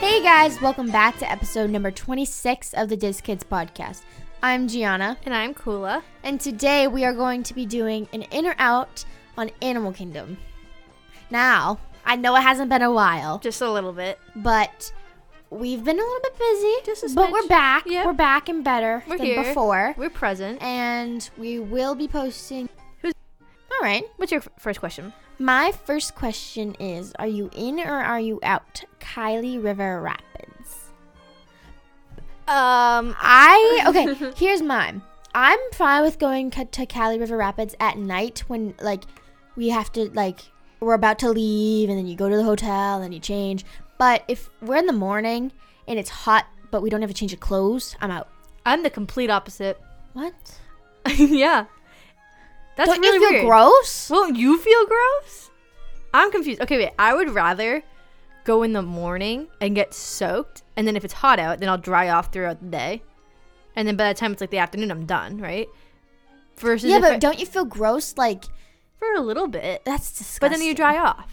Hey guys, welcome back to episode number 26 of the Diz Kids podcast. I'm Gianna, And I'm Kula. and today we are going to be doing an in or out on Animal Kingdom. Now, I know it hasn't been a while, Just a little bit. but we've been a little bit busy, Just a but we're smidge. back. Yep. We're back and better We're than here. before, We're present. and we will be posting. Who's- All right. What's your f- first question? My first question is Are you in or are you out? Kylie River Rapids. Um, I, okay, here's mine. I'm fine with going ca- to Kylie River Rapids at night when, like, we have to, like, we're about to leave and then you go to the hotel and then you change. But if we're in the morning and it's hot but we don't have a change of clothes, I'm out. I'm the complete opposite. What? yeah. That's don't really you feel weird. gross? Well, you feel gross? I'm confused. Okay, wait. I would rather go in the morning and get soaked, and then if it's hot out, then I'll dry off throughout the day, and then by the time it's like the afternoon, I'm done, right? Versus Yeah, if I- but don't you feel gross? Like, for a little bit. that's disgusting. But then you dry off.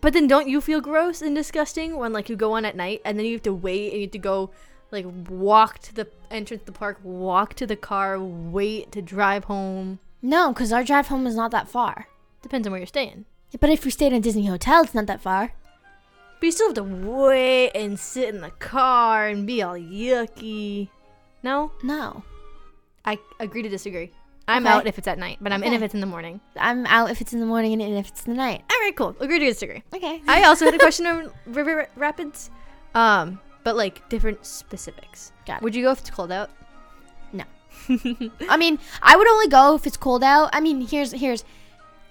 But then don't you feel gross and disgusting when like you go on at night and then you have to wait and you have to go like walk to the entrance of the park, walk to the car, wait to drive home. No, because our drive home is not that far. Depends on where you're staying. But if we stayed in a Disney hotel, it's not that far. But you still have to wait and sit in the car and be all yucky. No, No. I agree to disagree. I'm Okay. out if it's at night, but I'm in Okay. if it's in the morning. I'm out if it's in the morning and in if it's in the night. All right, cool. Agree to disagree. Okay. I also had a question on River Rapids, um, but like different specifics. Got it. Would you go if it's cold out? No. I mean, I would only go if it's cold out. I mean, here's here's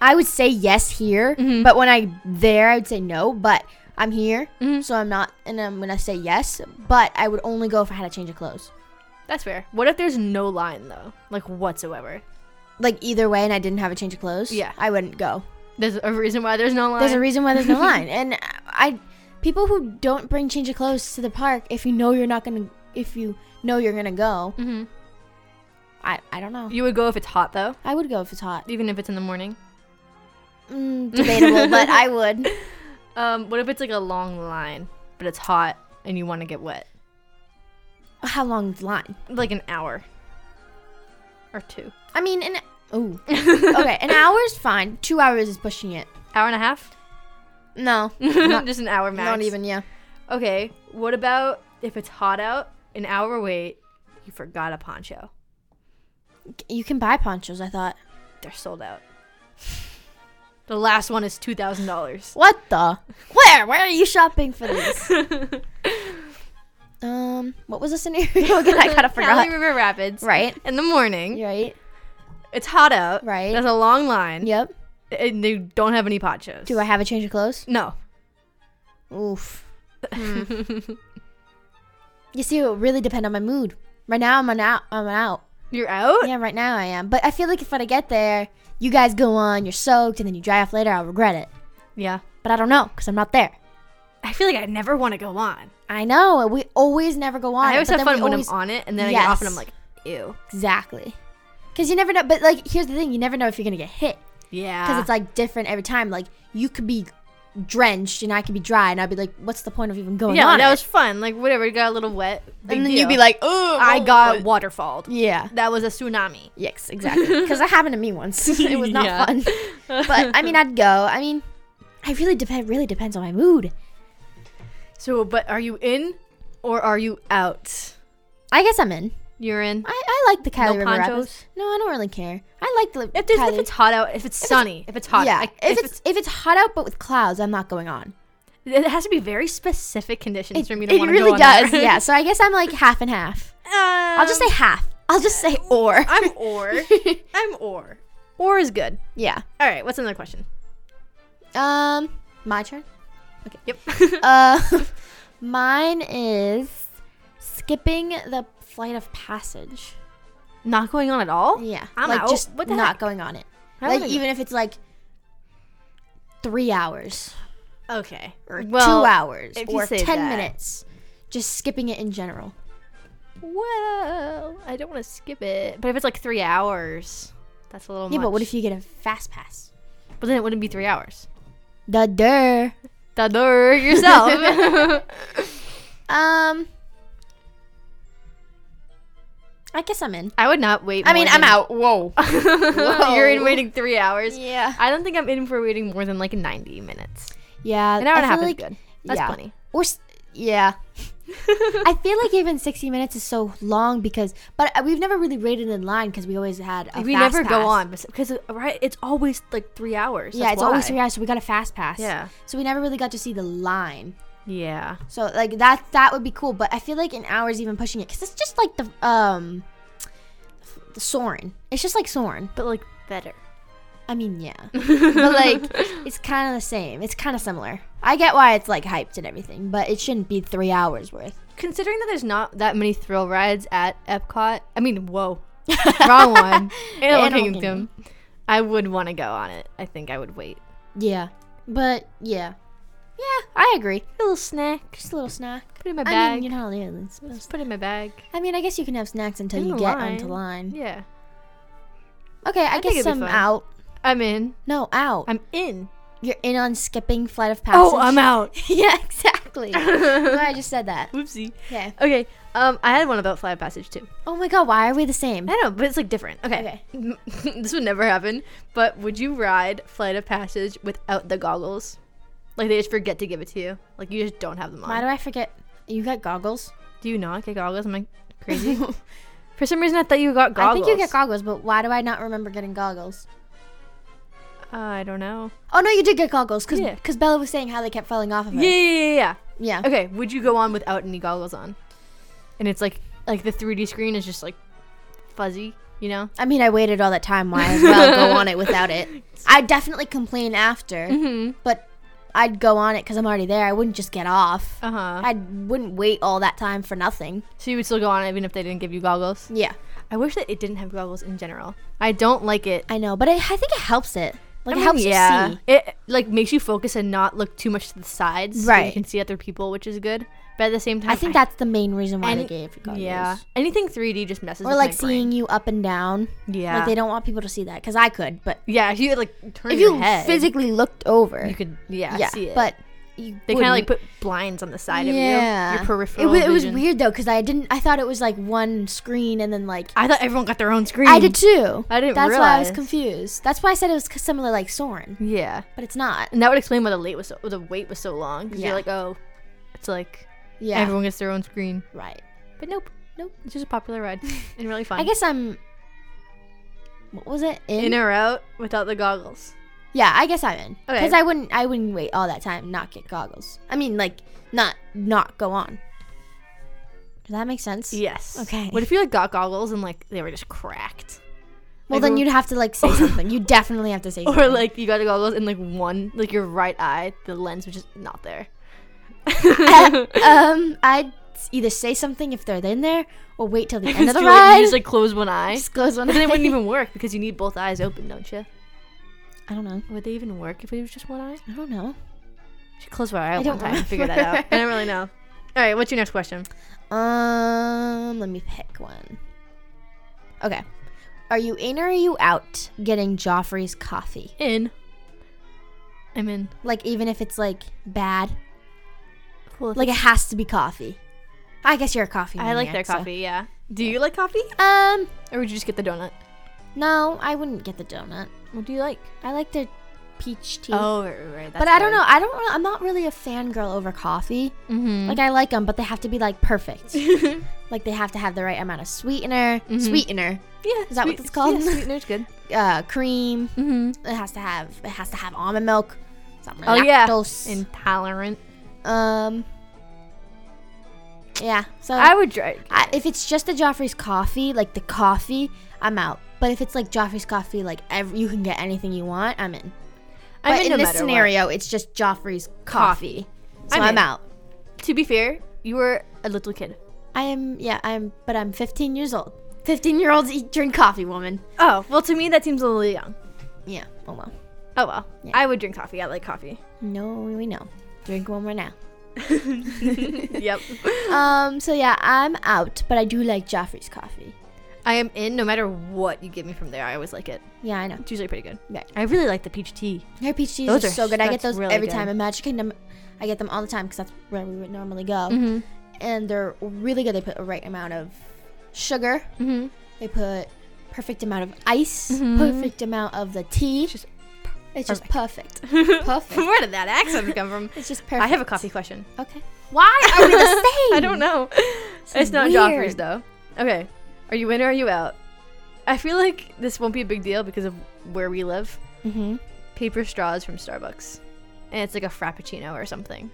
I would say yes here, Mhm. but when I there I would say no, but I'm here, Mhm. so I'm not and I'm gonna say yes, but I would only go if I had a change of clothes. That's fair. What if there's no line though, like whatsoever? Like either way and I didn't have a change of clothes, Yeah. I wouldn't go. There's a reason why there's no line. There's a reason why there's no line. And I people who don't bring change of clothes to the park if you know you're not gonna if you know you're gonna go, Mhm. I, I don't know. You would go if it's hot though, I would go if it's hot. even if it's in the morning. Mm, debatable, but I would. Um, what if it's like a long line, but it's hot and you want to get wet, How long is the line? like an hour or two, I mean, an ooh. okay, an hour is fine. Two hours is pushing it. hour and a half? No, not, Just an hour max. not even. Yeah. Okay. What about if it's hot out, an hour wait, you forgot a poncho. You can buy ponchos. I thought. They're sold out. The last one is two thousand dollars. What the? Where? Where are you shopping for these? um, what was the scenario again? I kind of forgot. River Rapids. Right. In the morning, Right. it's hot out. Right. There's a long line. Yep. And they don't have any ponchos. Do I have a change of clothes? No. Oof. Hmm. you see, it would really depend on my mood. Right now, I'm an out. I'm an out. You're out. Yeah, right now I am. But I feel like if when I get there, you guys go on, you're soaked, and then you dry off later, I'll regret it. Yeah. But I don't know because I'm not there. I feel like I never want to go on. I know we always never go on. I always but have then we fun when always- I'm on it, and then I get off Yes. and I'm like, ew. exactly because you never know. But like, here's the thing: you never know if you're gonna get hit Yeah. because it's like different every time. Like you could be drenched and I could be dry, and I'd be like, "What's the point of even going yeah, on?" like, that it? was fun. Like whatever, it got a little wet. big and then you'd be deal. like, "Oh, I got waterfalled. yeah." That was a tsunami. Yes, exactly. Because that happened to me once. it was not Yeah. fun. But I mean, I'd go. I mean, I really depend. Really depends on my mood. So, but are you in or are you out? I guess I'm in. You're in. I, I like the Kylie No River ponchos? Rapids. No, I don't really care. I like the If, there's, Kylie. if it's hot out, if it's sunny, if it's hot, yeah, like, if, it's, if it's hot out but with clouds, I'm not going on. it has to be very specific conditions for me to it want to really go on does. there. yeah. So I guess I'm like half and half. I'll just Um, say half. I'll just say or. I'm or. I'm or. Or is good. yeah. All right. What's another question? Um, my turn. Okay. Yep. Uh, mine is skipping the flight of passage. Not going on at all. Yeah. I'm like out. just What the not heck? going on it. I like wanna go- even if it's like three hours Okay. or well, two hours if you or say ten that. minutes, just skipping it in general. Well, I don't want to skip it. But if it's like three hours, that's a little. Yeah, but what if you? you get a fast pass? But then it wouldn't be three hours. The der. Dador yourself. Um, I guess I'm in. I would not wait. I mean, more I'm than- out. Whoa. You're in waiting three hours. Yeah. I don't think I'm in for waiting more than like 90 minutes. Yeah. An hour and I a half feel is good. That's yeah. plenty. Or s- yeah. I feel like even 60 minutes is so long because, but uh, we've never really waited in line because we always had a we fast never pass. go on because right, it's always like three hours. Yeah, That's it's always why. three hours, so we got a fast pass. Yeah. So we never really got to see the line. Yeah, So like that that would be cool, but I feel like an hour is even pushing it because it's just like the um, the Soren. It's just like Soren. but like better. I mean, yeah, but like it's kind of the same. It's kind of similar. I get why it's like hyped and everything, but it shouldn't be three hours worth. Considering that there's not that many thrill rides at Epcot, I mean, whoa, wrong one. Animal, Animal Kingdom. I would want to go on it. I think I would wait. Yeah, but yeah, yeah, I agree. A little snack. Just a little snack. Put it in my I bag. mean, you're not really. supposed- Just put it in my bag. I mean, I guess you can have snacks until In you the get line. onto line. Yeah, Okay, I, think guess it'd I'm be fun. out. I'm in. No, out. I'm in. You're in on skipping flight of passage. Oh, I'm out. yeah, exactly. That's why I just said that. Whoopsie. Okay. Okay. Um, I had one about flight of passage too. Oh my god, why are we the same? I know, but it's like different. Okay. this would never happen. But would you ride Flight of Passage without the goggles? Like they just forget to give it to you. Like you just don't have them on. Why do I forget? You got goggles. do you not get goggles? Am I crazy? For some reason, I thought you got I goggles. think you get goggles, but why do I not remember getting goggles? Uh, I don't know. Oh no, you did get goggles because Yeah. Bella was saying how they kept falling off of her. Yeah, yeah, yeah, yeah. Yeah. Okay. Would you go on without any goggles on? And it's like, like the 3D screen is just like fuzzy. You know? I mean, I waited all that time. Why as well go on it without it? I definitely complain after, Mm-hmm. but I'd go on it because I'm already there. I wouldn't just get off. Uh huh. I wouldn't wait all that time for nothing. So you would still go on even if they didn't give you goggles. Yeah, I wish that it didn't have goggles in general. I don't like it I know, but I, I think it helps it. Like I mean, it helps yeah. you see. It like makes you focus and not look too much to the sides. so Right. you can see other people, which is good. But at the same time, I think that's the main reason why they And- gave you goggles. yeah. Anything 3D just messes. Or with like my brain. seeing you up and down. Yeah. Like they don't want people to see that because I could, but yeah. If you like turn if your you head, physically looked over, you could yeah, yeah, see it. but you they kind of like wouldn't. put blinds on the side yeah. of you, your It, peripheral. wa- it was vision. weird though because I didn't. I thought it was like one screen and then like I thought everyone got their own screen. I did too. I didn't That's why I was realize. confused. That's why I said it was c- similar like Soren, Yeah, but it's not. and that would explain why the late was so, the wait was so long. Because Yeah. you're like, oh, it's like Yeah, everyone gets their own screen. right. But nope, nope. It's just a popular ride and really fun. I guess I'm. What was it? In? in or out without the goggles. yeah, I guess I'm in Okay. because I wouldn't. I wouldn't wait all that time. Not get goggles. I mean, like not not go on. Does that make sense? Yes. Okay. What if you like got goggles and like they were just cracked, Well, Like, then wh- you'd have to like say something. You definitely have to say something. or like you got the goggles and like one like your right eye the lens was just not there. Uh, um, I'd either say something if they're in there, or wait till the end of Just the do, like, ride. you just like close one eye. just close one. But then it wouldn't eye. even work because you need both eyes open, don't you? I don't know. Would they even work if it was just one eye? I don't know. Should close one eye I at one don't time and figure that out. I don't really know. All right, what's your next question? Um, let me pick one. Okay. Are you in or are you out getting Joffrey's coffee? In. I'm in. Like, even if it's like bad, Well, like it has to be coffee. I guess you're a coffee. I like their maniac, coffee. Yeah. Do you like coffee, so- Um, or would you just get the donut? no, I wouldn't get the donut. What do you like? I like their peach tea. Oh, right, right, right. but I don't know. I don't. re- I'm not really a fangirl over coffee. Mm-hmm. Like I like them, but they have to be like perfect. like they have to have the right amount of sweetener, Mm-hmm. sweetener, Yeah. Is that what it's called? Yeah, sweetener's good. uh, cream. Mm-hmm. It has to have. It has to have almond milk. Something Oh, yeah. lactose. Intolerant. um. Yeah. So I would try. I, if it's just the Joffrey's coffee, like the coffee, I'm out. But if it's like Joffrey's coffee, like ev you can get anything you want, I'm in. But I'm in, in no this matter scenario, it's just Joffrey's coffee, so I'm I'm, in. out. what. To be fair, you were a little kid. I am. Yeah, I'm. But I'm 15 years old. 15 year olds eat drink coffee, woman. Oh well, to me that seems a little young. Yeah. Oh well. Oh well, Yeah. I would drink coffee. I like coffee. No, we know. Drink one more now. yep. Um. So yeah, I'm out. But I do like Joffrey's coffee. I am in no matter what you give me from there. I always like it. Yeah, I know. It's usually pretty good. Right. I really like the peach tea. Their peach teas Those are are- so good. I get that's those really every good. time. At Magic Kingdom, I get them all the time because that's where we would normally go. Mhm. And they're really good. They put the right amount of sugar. Mm-hmm. They put perfect amount of ice. Mhm. Perfect amount of the tea. It's just just, perfect. Perfect. Where did that accent come from? It's just perfect. I have a coffee question. Okay. Why are we the same? I don't know. it's not Joffrey's weird. though. Okay. Are you in or are you out? I feel like this won't be a big deal because of where we live. Mm-hmm. Paper straws from Starbucks, and it's like a frappuccino or something.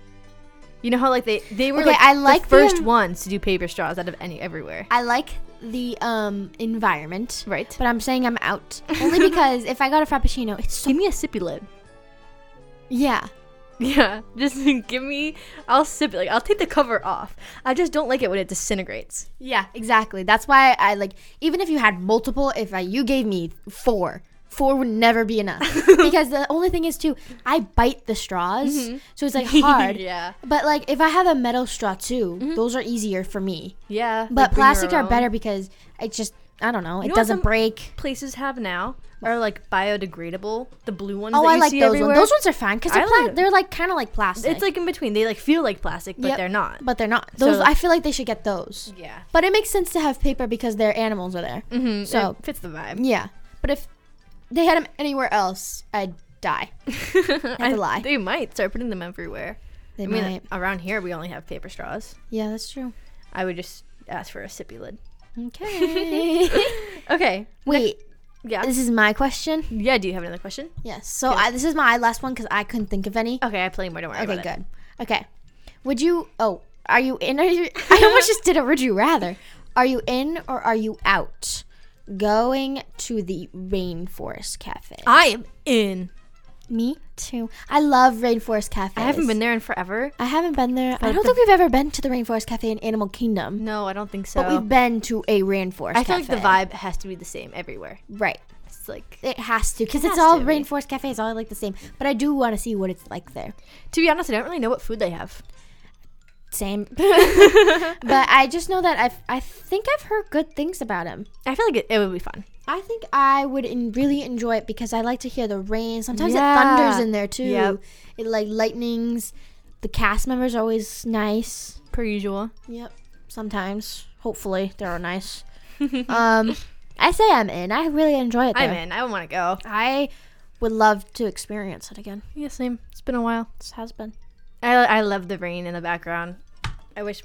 You know how like they they were Okay, like, I like the the first en- ones to do paper straws out of any everywhere. I like the um environment, Right. but I'm saying I'm out only because if I got a frappuccino, it's so give me a sippy lid. yeah. Yeah, just give me. I'll sip it. Like I'll take the cover off. I just don't like it when it disintegrates. Yeah, exactly. That's why I like even if you had multiple, if I, you gave me four, four would never be enough. because the only thing is too, I bite the straws, so it's like hard. yeah. But like if I have a metal straw too, those are easier for me. Yeah. But like, bring your plastic are own. better because it just I don't know, it know what doesn't some- break. Places have now are like biodegradable. The blue ones. Oh, that I you like see those everywhere. ones. Those ones are fine because I they're, like pla- them. they're like kind of like plastic. It's like in between. They like feel like plastic, but Yep. they're not. but they're not. Those So- I feel like they should get those. yeah. But it makes sense to have paper because their animals are there. Mm-hmm. So- it fits the vibe. Yeah, but if they had them anywhere else, I'd die. I- lie. They might start putting them everywhere. They I mean, might. around here we only have paper straws. Yeah, that's true. I would just ask for a sippy lid. Okay. Okay. Wait, Yeah. this is my question. yeah. Do you have another question? Yes. So I, this is my last one because I couldn't think of any. Okay, I have plenty more. Don't worry Okay, about Oh, it. good. Okay. Would you? Oh, are you in? Are you, I almost just did a would you rather. Are you in or are you out? Going to the Rainforest Cafe. I am in. Me too. I love Rainforest Cafe. I haven't been there in forever. I haven't been there. I I've don't been- think we've ever been to the Rainforest Cafe in Animal Kingdom. No, I don't think so. But we've been to a rainforest. I feel like the Cafe. vibe has to be the same everywhere. Right. It's like, It has to because It it's has all to be. rainforest cafe. It's all like the same. But I do want to see what it's like there. to be honest, I don't really know what food they have. Same. but I just know that I've, I think I've heard good things about him. I feel like it, it would be fun. I think I would en- really enjoy it because I like to hear the rain. Sometimes it Yeah. thunders in there too. Yep. It like lightnings. The cast members are always nice. Per usual. Yep. Sometimes, hopefully, they're nice. um, I say I'm in. I really enjoy it. There. I'm in. I want to go. I would love to experience it again. Yeah, same. It's been a while. This has been. I, I love the rain in the background. I wish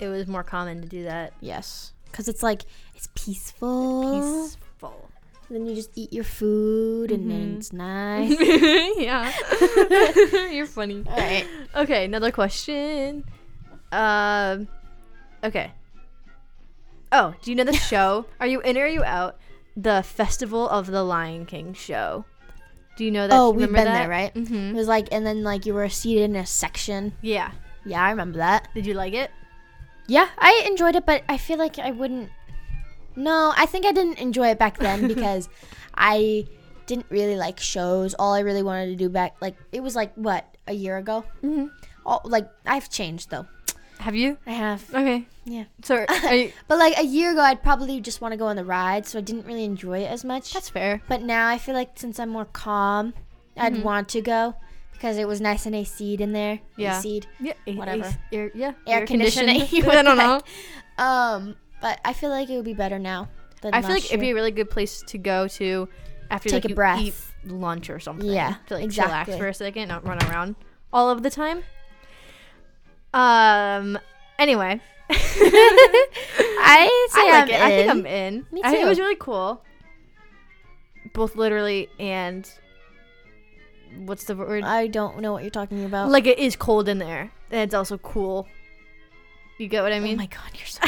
it was more common to do that. Yes. Because it's like, it's peaceful. Peaceful. Then you just eat your food and Mm-hmm. then it's nice. yeah. You're funny. All right. Okay, another question. Um, okay. Oh, do you know the show? Are you in or are you out? The Festival of the Lion King show. Do you know that? Oh, you we've remember been that? there, right? It Mm-hmm. was like, and then like you were seated in a section. Yeah. Yeah, I remember that. Did you like it? Yeah, I enjoyed it, but I feel like I wouldn't. No, I think I didn't enjoy it back then because I didn't really like shows. All I really wanted to do back, like, it was like, what, a year ago? Mm-hmm. All, like, I've changed though. Have you? I have. Okay. Yeah. So are you, But like a year ago, I'd probably just want to go on the ride, so I didn't really enjoy it as much. that's fair. but now I feel like since I'm more calm, Mm-hmm. I'd want to go because it was nice and a seed in there. Yeah. seed. Yeah. a- Whatever. a- air, yeah. Air conditioning. conditioning. I don't know. Um, but I feel like it would be better now. Than I feel last like it'd be year. a really good place to go to after Take like, a you breath. eat lunch or something. Yeah, to like exactly. chillax for a second, not run around all of the time. Um. Anyway, I say I I like it. I think I'm in. Me I think too. it was really cool, both literally and what's the word? I don't know what you're talking about. like it is cold in there, and it's also cool. You get what I oh mean? my god, you're so.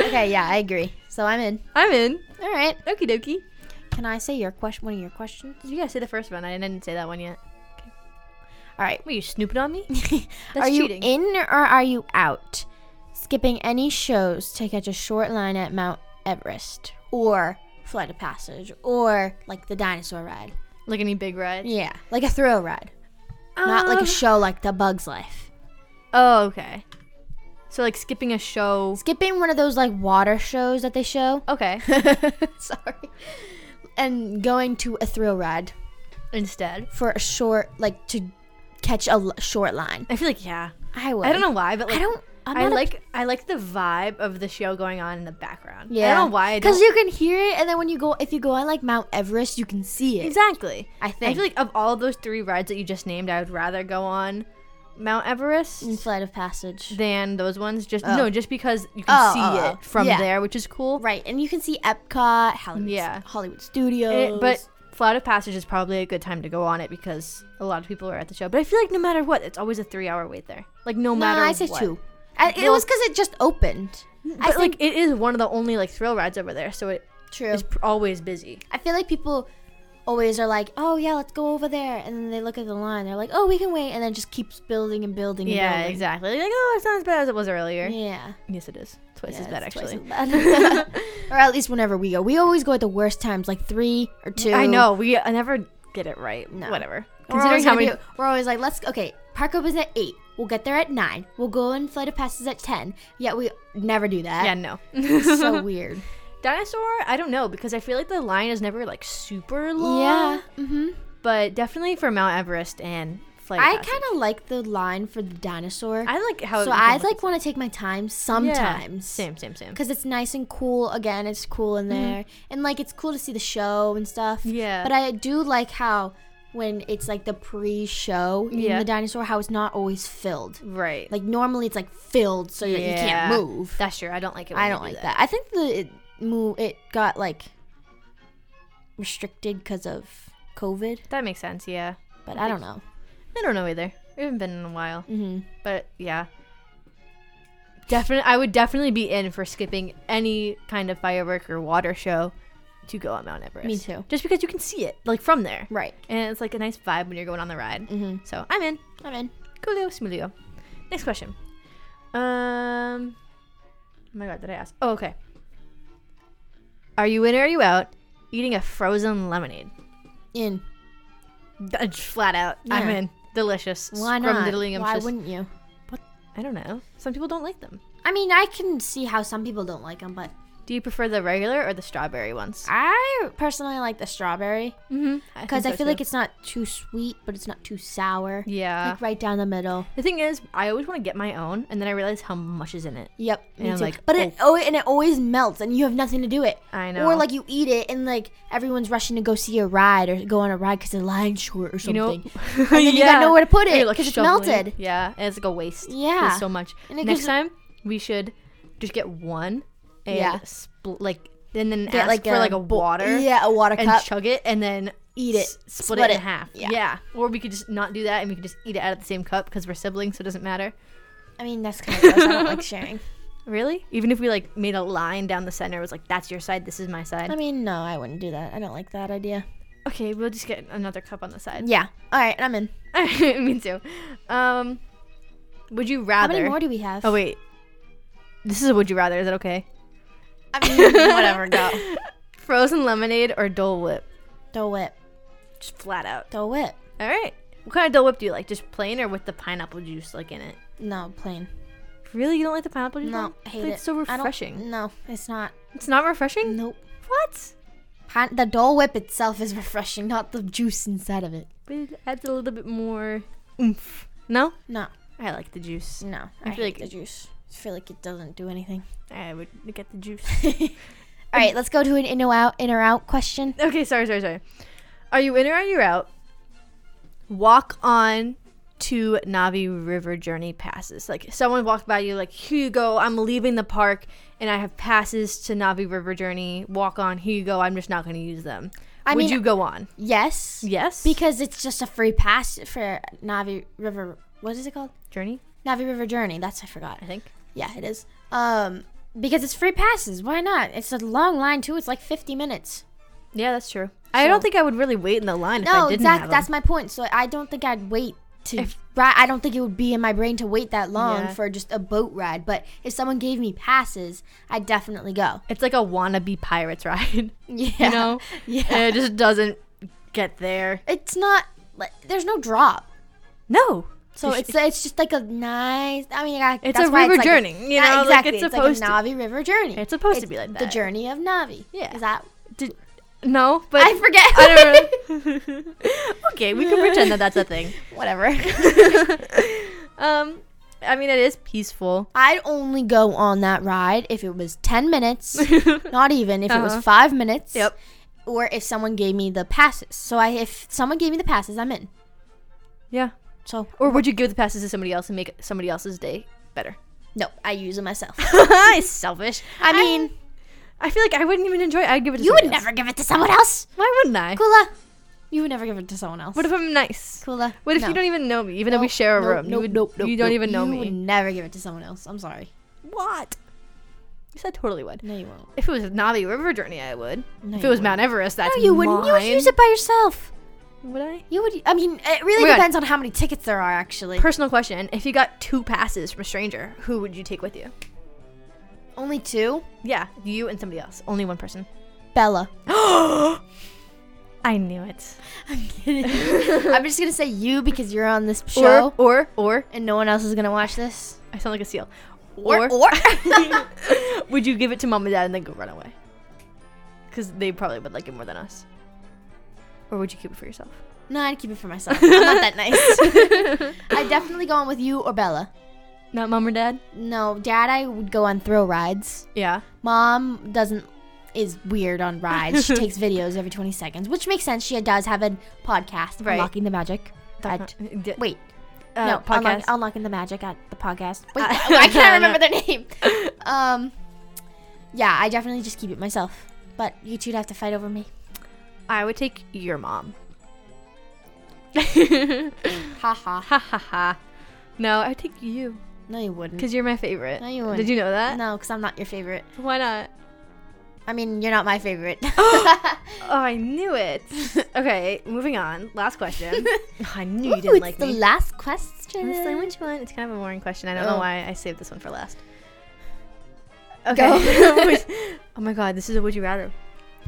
okay, yeah, I agree. So I'm in. I'm in. All right. Okie dokie. Can I say your question? One of your questions. You guys say the first one. I didn't say that one yet. All right. Wait, you snooping on me? are That's you cheating. in or are you out? Skipping any shows to catch a short line at Mount Everest or Flight of Passage or like the dinosaur ride. Like any big ride? Yeah, like a thrill ride, not like a Um, show like The Bug's Life. oh, okay. So like skipping a show. Skipping one of those like water shows that they show. Okay. Sorry. And going to a thrill ride Instead, for a short, like to catch a l- short line. I feel like yeah. I would. I don't know why, but like I don't. I'm I not a- like I like the vibe of the show going on in the background. Yeah. I don't know why. I Because don't- you can hear it, and then when you go, if you go on like Mount Everest, you can see it. exactly. I I think. feel like of all those three rides that you just named, I would rather go on Mount Everest In Flight of Passage. than those ones. Just Mm. Oh. no, just because you can Oh, see oh, oh. it from Yeah. there, which is cool. Right, and you can see Epcot, Hollywood, Yeah. Hollywood Studios. It- Eh, but Flight of Passage is probably a good time to go on it because a lot of people are at the show. But I feel like no matter what, it's always a three-hour wait there. Like no no, matter. I say what. two. I, it Well- was because it just opened. But like it is one of the only like thrill rides over there, so it True. is pr- always busy. I feel like people always are like, "Oh yeah, let's go over there," and then they look at the line. They're like, "Oh, we can wait," and then it just keeps building and building. And Yeah, building. exactly. Like oh, it's not as bad as it was earlier. Yeah, Yes, it is. Twice Yeah, as bad, it's twice actually. as bad. or at least whenever we go, we always go at the worst times, like three or two. I know we I never get it right. No. Whatever. We're Considering always how gonna many, be- we're always like, let's okay. Park opens at eight. We'll get there at nine. We'll go in flight of passes at ten. Yet we never do that. yeah, no. It's so weird. Dinosaur, I don't know because I feel like the line is never like super long. yeah. hmm but definitely for Mount Everest and flight. of I Passage. kind of like the line for the dinosaur. I like how. so you can I look at like want to take my time the- Yeah, sometimes. same, same, same. Because it's nice and cool. Again, it's cool in there, and like it's cool to see the show and stuff. Mm-hmm. Yeah. But I do like how when it's like the pre-show in Yeah. the dinosaur, how it's not always filled. Right. Like normally it's like filled so that you Yeah. can't move. That's true. I don't like it. When I they don't do like that. I think the it move it got like restricted because of COVID, that. makes sense. Yeah. but I don't know. I don't know either. We haven't been in a while, hmm but yeah. Definitely, I would definitely be in for skipping any kind of firework or water show to go on Mount Everest. Me too. Just because you can see it like from there, Right. and it's like a nice vibe when you're going on the ride. Mm-hmm. So I'm in. I'm in. Coolio, smoothio. Next question. Um. Oh my god, did I ask? Oh, okay. Are you in or are you out? Eating a frozen lemonade. In. D- Flat out, I'm Yeah. in. Delicious. Why not? Why Scrumdiddlyumptious. wouldn't you? I don't know. Some people don't like them. I mean, I can see how some people don't like them, but Do you prefer the regular or the strawberry ones? I personally like the strawberry Mm-hmm. because I, feel like it's not too sweet, but it's not too sour. yeah. Like right down the middle. the thing is, I always want to get my own, and then I realize how much is in it. Yep. Me And I'm too. like, but it oh, and it always melts, and you have nothing to do it. I Or know. like you eat it, and like everyone's rushing to go see a ride or go on a ride because the line's short or You something. know, then you gotta know where to put Or you're, it, like, 'cause it's shoveling. melted. Yeah, and it's like a waste. Yeah. There's so much. And it Next gives- time we should just get one and Yeah. spl- like and then Get, ask for like a bo- water Yeah, a water and cup. chug it and then Eat it. s- Split split, it, it. in half. Yeah. Or we could just not do that and we could just eat it out of the same cup because we're siblings, so it doesn't matter. I mean, that's kind of gross. I don't like sharing. Really? Even if we like made a line down the center, it was like that's your side, this is my side. I mean, no, I wouldn't do that. I don't like that idea. okay, we'll just get another cup on the side. Yeah. All right, I'm in. Me too. Um, would you How rather? many more do we have? Oh wait. This is a would you rather, is that okay? I mean, whatever. Go. Frozen lemonade or Dole Whip? Dole whip. Just flat out. Dole whip. All right. What kind of Dole Whip do you like? Just plain or with the pineapple juice like in it? No, plain. Really, you don't like the pineapple juice? No, one? I hate But it. It's so I don't- refreshing. No, it's not. It's not refreshing. Nope. Mm. What? Pine- the Dole Whip itself is refreshing, not the juice inside of it. But it adds a little bit more oomph. No, No, I like the juice. no. I I, feel hate like- the juice. I feel like it doesn't do anything. I would get the juice. All right, let's go to an in or out, in or out question. okay, sorry, sorry, sorry. Are you in or are you out? Walk on to Navi River Journey passes. Like someone walked by you, like here you go. I'm leaving the park, and I have passes to Navi River Journey. Walk on. Here you go. I'm just not going to use them. I Would mean- you go on? Yes, Yes. because it's just a free pass for Navi River. What is it called? Journey, Navi River Journey. That's I forgot. I think. Yeah, it is. Um, because it's free passes. Why not? It's a long line too. It's like 50 minutes. Yeah, that's true. I don't think I would really wait in the line if I No, didn't exactly. have That's them. my point. So I don't think I'd wait to. If- ri- I don't think it would be in my brain to wait that long Yeah. for just a boat ride. But if someone gave me passes, I'd definitely go. It's like a wannabe pirates ride. Yeah. You know? Yeah. And it just doesn't get there. It's not. like, There's no drop. No. So You it's it's just like a nice. I mean, I, It's that's a why river like journey, you yeah, know, like, exactly. it's it's supposed to- like a Navi River journey. It's supposed to be like The that. journey of Navi. Yeah. Is that? Did, no, but I forget. I don't know. okay, we can pretend that that's a thing. Whatever. um, I mean, it is peaceful. I'd only go on that ride if it was ten minutes. Not even if it Uh-huh. was five minutes. Yep. Or if someone gave me the passes. So I, if someone gave me the passes, I'm in. Yeah. So Or would you give the passes to somebody else and make somebody else's day better? no, I use it myself. Selfish. I mean, I feel like I wouldn't even enjoy. it. I'd give it. to you would somebody else. never give it to someone else, Why wouldn't I? Kula. You would never give it to someone else. What if I'm nice? Kula? What if no. you don't even know me? Even though we share a Nope, room, you, nope, would, nope, nope, you don't nope. even know You me. would never give it to someone else. I'm sorry. What? Yes, I totally would. No, you won't. If it was Navi River Journey, I would. No, if you it was wouldn't. Mount Everest, that's no, you wouldn't. You would use mine. it by yourself. Would I? You would. I mean, it really Oh my God. depends on how many tickets there are, actually. Personal question: If you got two passes from a stranger, who would you take with you? Only two. Yeah, you and somebody else. Only one person. Bella. I knew it. I'm kidding. I'm just gonna say you because you're on this show, Or or or and no one else is gonna watch this. I sound like a seal. Or or. would you give it to mom and dad and then go run away? Because they probably would like it more than us. Or would you keep it for yourself? no, I'd keep it for myself. I'm not that nice. I definitely go on with you or Bella. Not mom or dad. No, Dad, I would go on thrill rides. Yeah. Mom doesn't is weird on rides. She takes videos every 20 seconds, which makes sense. She does have a podcast, Right. Unlocking the Magic. At, D- wait, uh, no, Unlock, podcast. Unlocking the Magic at the podcast. Wait, Uh, I can't remember their name. Um, yeah, I definitely just keep it myself. But you two'd have to fight over me. I would take your mom. Ha ha. ha ha ha. No, I would take you No, you wouldn't. because you're my favorite. No, you Did wouldn't. you know that? No, because I'm not your favorite. Why not? I mean, you're not my favorite. Oh, I knew it. okay, moving on. Last question. Oh, I knew Ooh, you didn't it's like the me. last question. It's like, which one? It's kind of a boring question. I don't know Oh. why I saved this one for last. Go. Okay. Would- oh my god, this is a would you rather.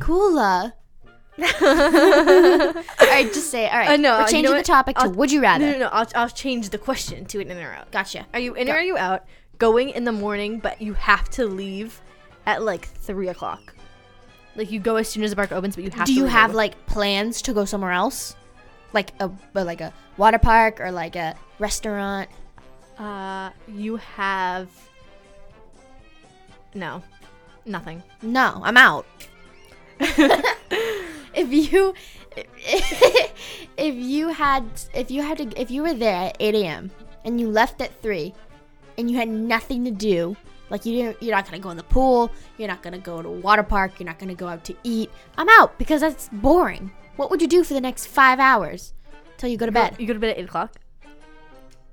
Coola. no, all right, just say it. All right. Uh, no, you We're know changing the what? topic to I'll- would you rather. no, no. I'll, I'll change the question to an in or out. Gotcha. Are you in Go. or are you out? Going in the morning, but you have to leave at like three o'clock. Like you go as soon as the park opens, but you have. Do to you leave. have like plans to go somewhere else? Like a but like a water park or like a restaurant? Uh, you have. No, nothing. No, I'm out. if you if you had if you had to if you were there at 8 a.m. and you left at 3 and you had nothing to do, like you didn't, you're not gonna go in the pool, you're not gonna go to a water park, you're not gonna go out to eat. I'm out because that's boring. What would you do for the next five hours till you go to bed? You go to bed at eight o'clock.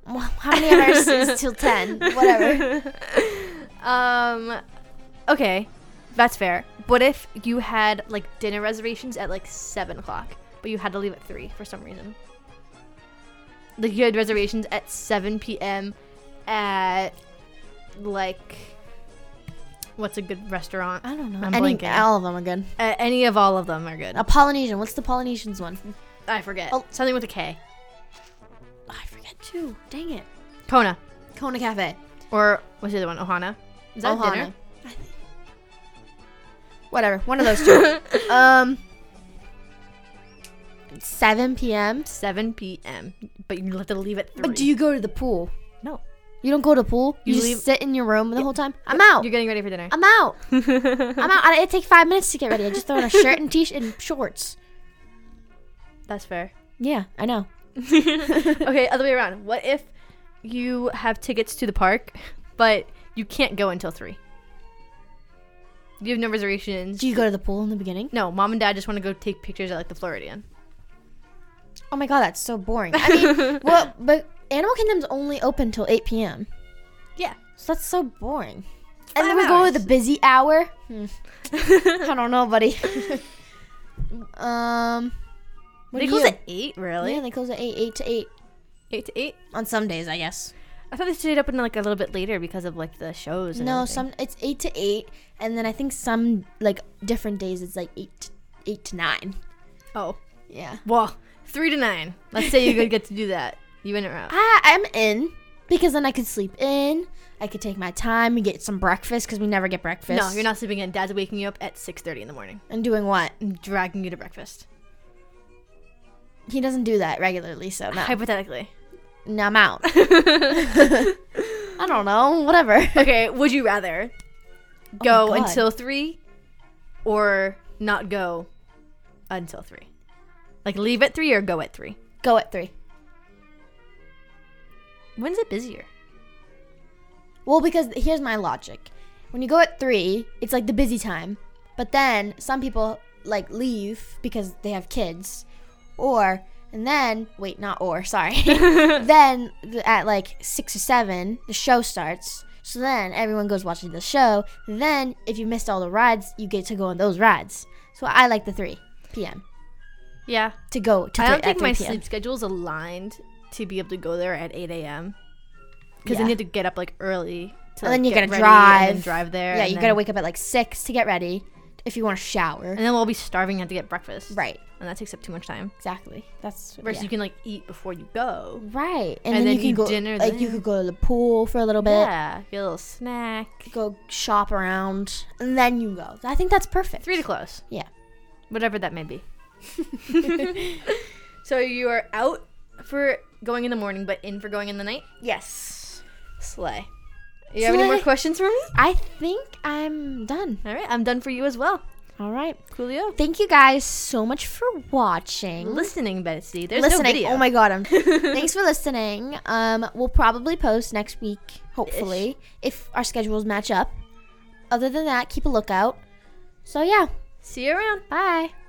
Well, How many hours is till 10? Whatever. Um, okay, that's fair. What if you had like dinner reservations at like seven o'clock, but you had to leave at three for some reason? Like you had reservations at seven p.m. at like what's a good restaurant? I don't know. I'm Any, blanking. all of them are good. Uh, any of all of them are good. A Polynesian. What's the Polynesians one? I forget Oh. something with a K. I forget too. Dang it. Kona Kona Cafe. or what's the other one? Ohana. Is that Ohana. dinner? I think- Whatever. One of those two. um. 7 p.m. Seven p.m. But you have to leave at three. But do you go to the pool? No. You don't go to the pool. You, You just leave- sit in your room the whole time. I'm out. You're getting ready for dinner. I'm out. I'm out. I, it take five minutes to get ready. I just throw on a shirt and t-shirt and shorts. That's fair. Yeah, I know. okay, other way around. What if you have tickets to the park, but you can't go until three? You have no reservations. Do you go to the pool in the beginning? no, mom and dad just want to go take pictures at like the Floridian. Oh my god, that's so boring. I mean, well, but Animal Kingdom's only open till 8 p.m. Yeah. So that's so boring. And five then we go hours. with the busy hour. Hmm. I don't know, buddy. um, what they do close you? at eight, really? Yeah, they close at eight, eight to eight Eight to eight. on some days, I guess. I thought they stayed up until like a little bit later because of like the shows. And No, everything. some it's eight to eight, and then I think some like different days it's like eight, to, eight to nine. Oh, Yeah. well, three to nine. Let's say you could get to do that. You in or out? I, I'm in because then I could sleep in. I could take my time and get some breakfast because we never get breakfast. No, you're not sleeping in. Dad's waking you up at 6:30 in the morning And doing what? and dragging you to breakfast. He doesn't do that regularly, so no. Uh, Hypothetically. no I'm out. I don't know. Whatever. Okay, would you rather go God. until 3 or not go until 3? Like leave at 3 or go at 3? Go at three. When's it busier? Well, because here's my logic. When you go at three, it's like the busy time. But then some people like leave because they have kids, or and then wait, not or sorry. then th- at like six or seven, the show starts. So then everyone goes watching the show. Then if you missed all the rides, you get to go on those rides. So I like the three p.m. Yeah. to go to. I three- don't at think 3 my p.m. sleep schedule's aligned to be able to go there at 8 a.m. Because I Yeah. need to get up like early. To, And then like, you gotta get ready and then drive. drive there. Yeah, and you then- gotta wake up at like six to get ready if you want to shower. And then we'll be starving. and Have to get breakfast. Right. And that takes up too much time. Exactly. That's Versus yeah. you can like eat before you go. Right, and, And then, then you can eat go dinner like you there. could go to the pool for a little bit, Yeah. Get a little snack. go shop around, and then you go. I think that's perfect. Three to close. Yeah. Whatever that may be. so you are out for going in the morning, but in for going in the night. Yes, Slay. You have any more Slay. questions for me? I think I'm done. All right, I'm done for you as well. All right, Coolio. thank you guys so much for watching. Listening, Betsy. There's no listening. video. oh my god, I'm. Thanks for listening. Um, we'll probably post next week, hopefully, if our schedules match up. Other than that, keep a lookout. So yeah, See you around. bye.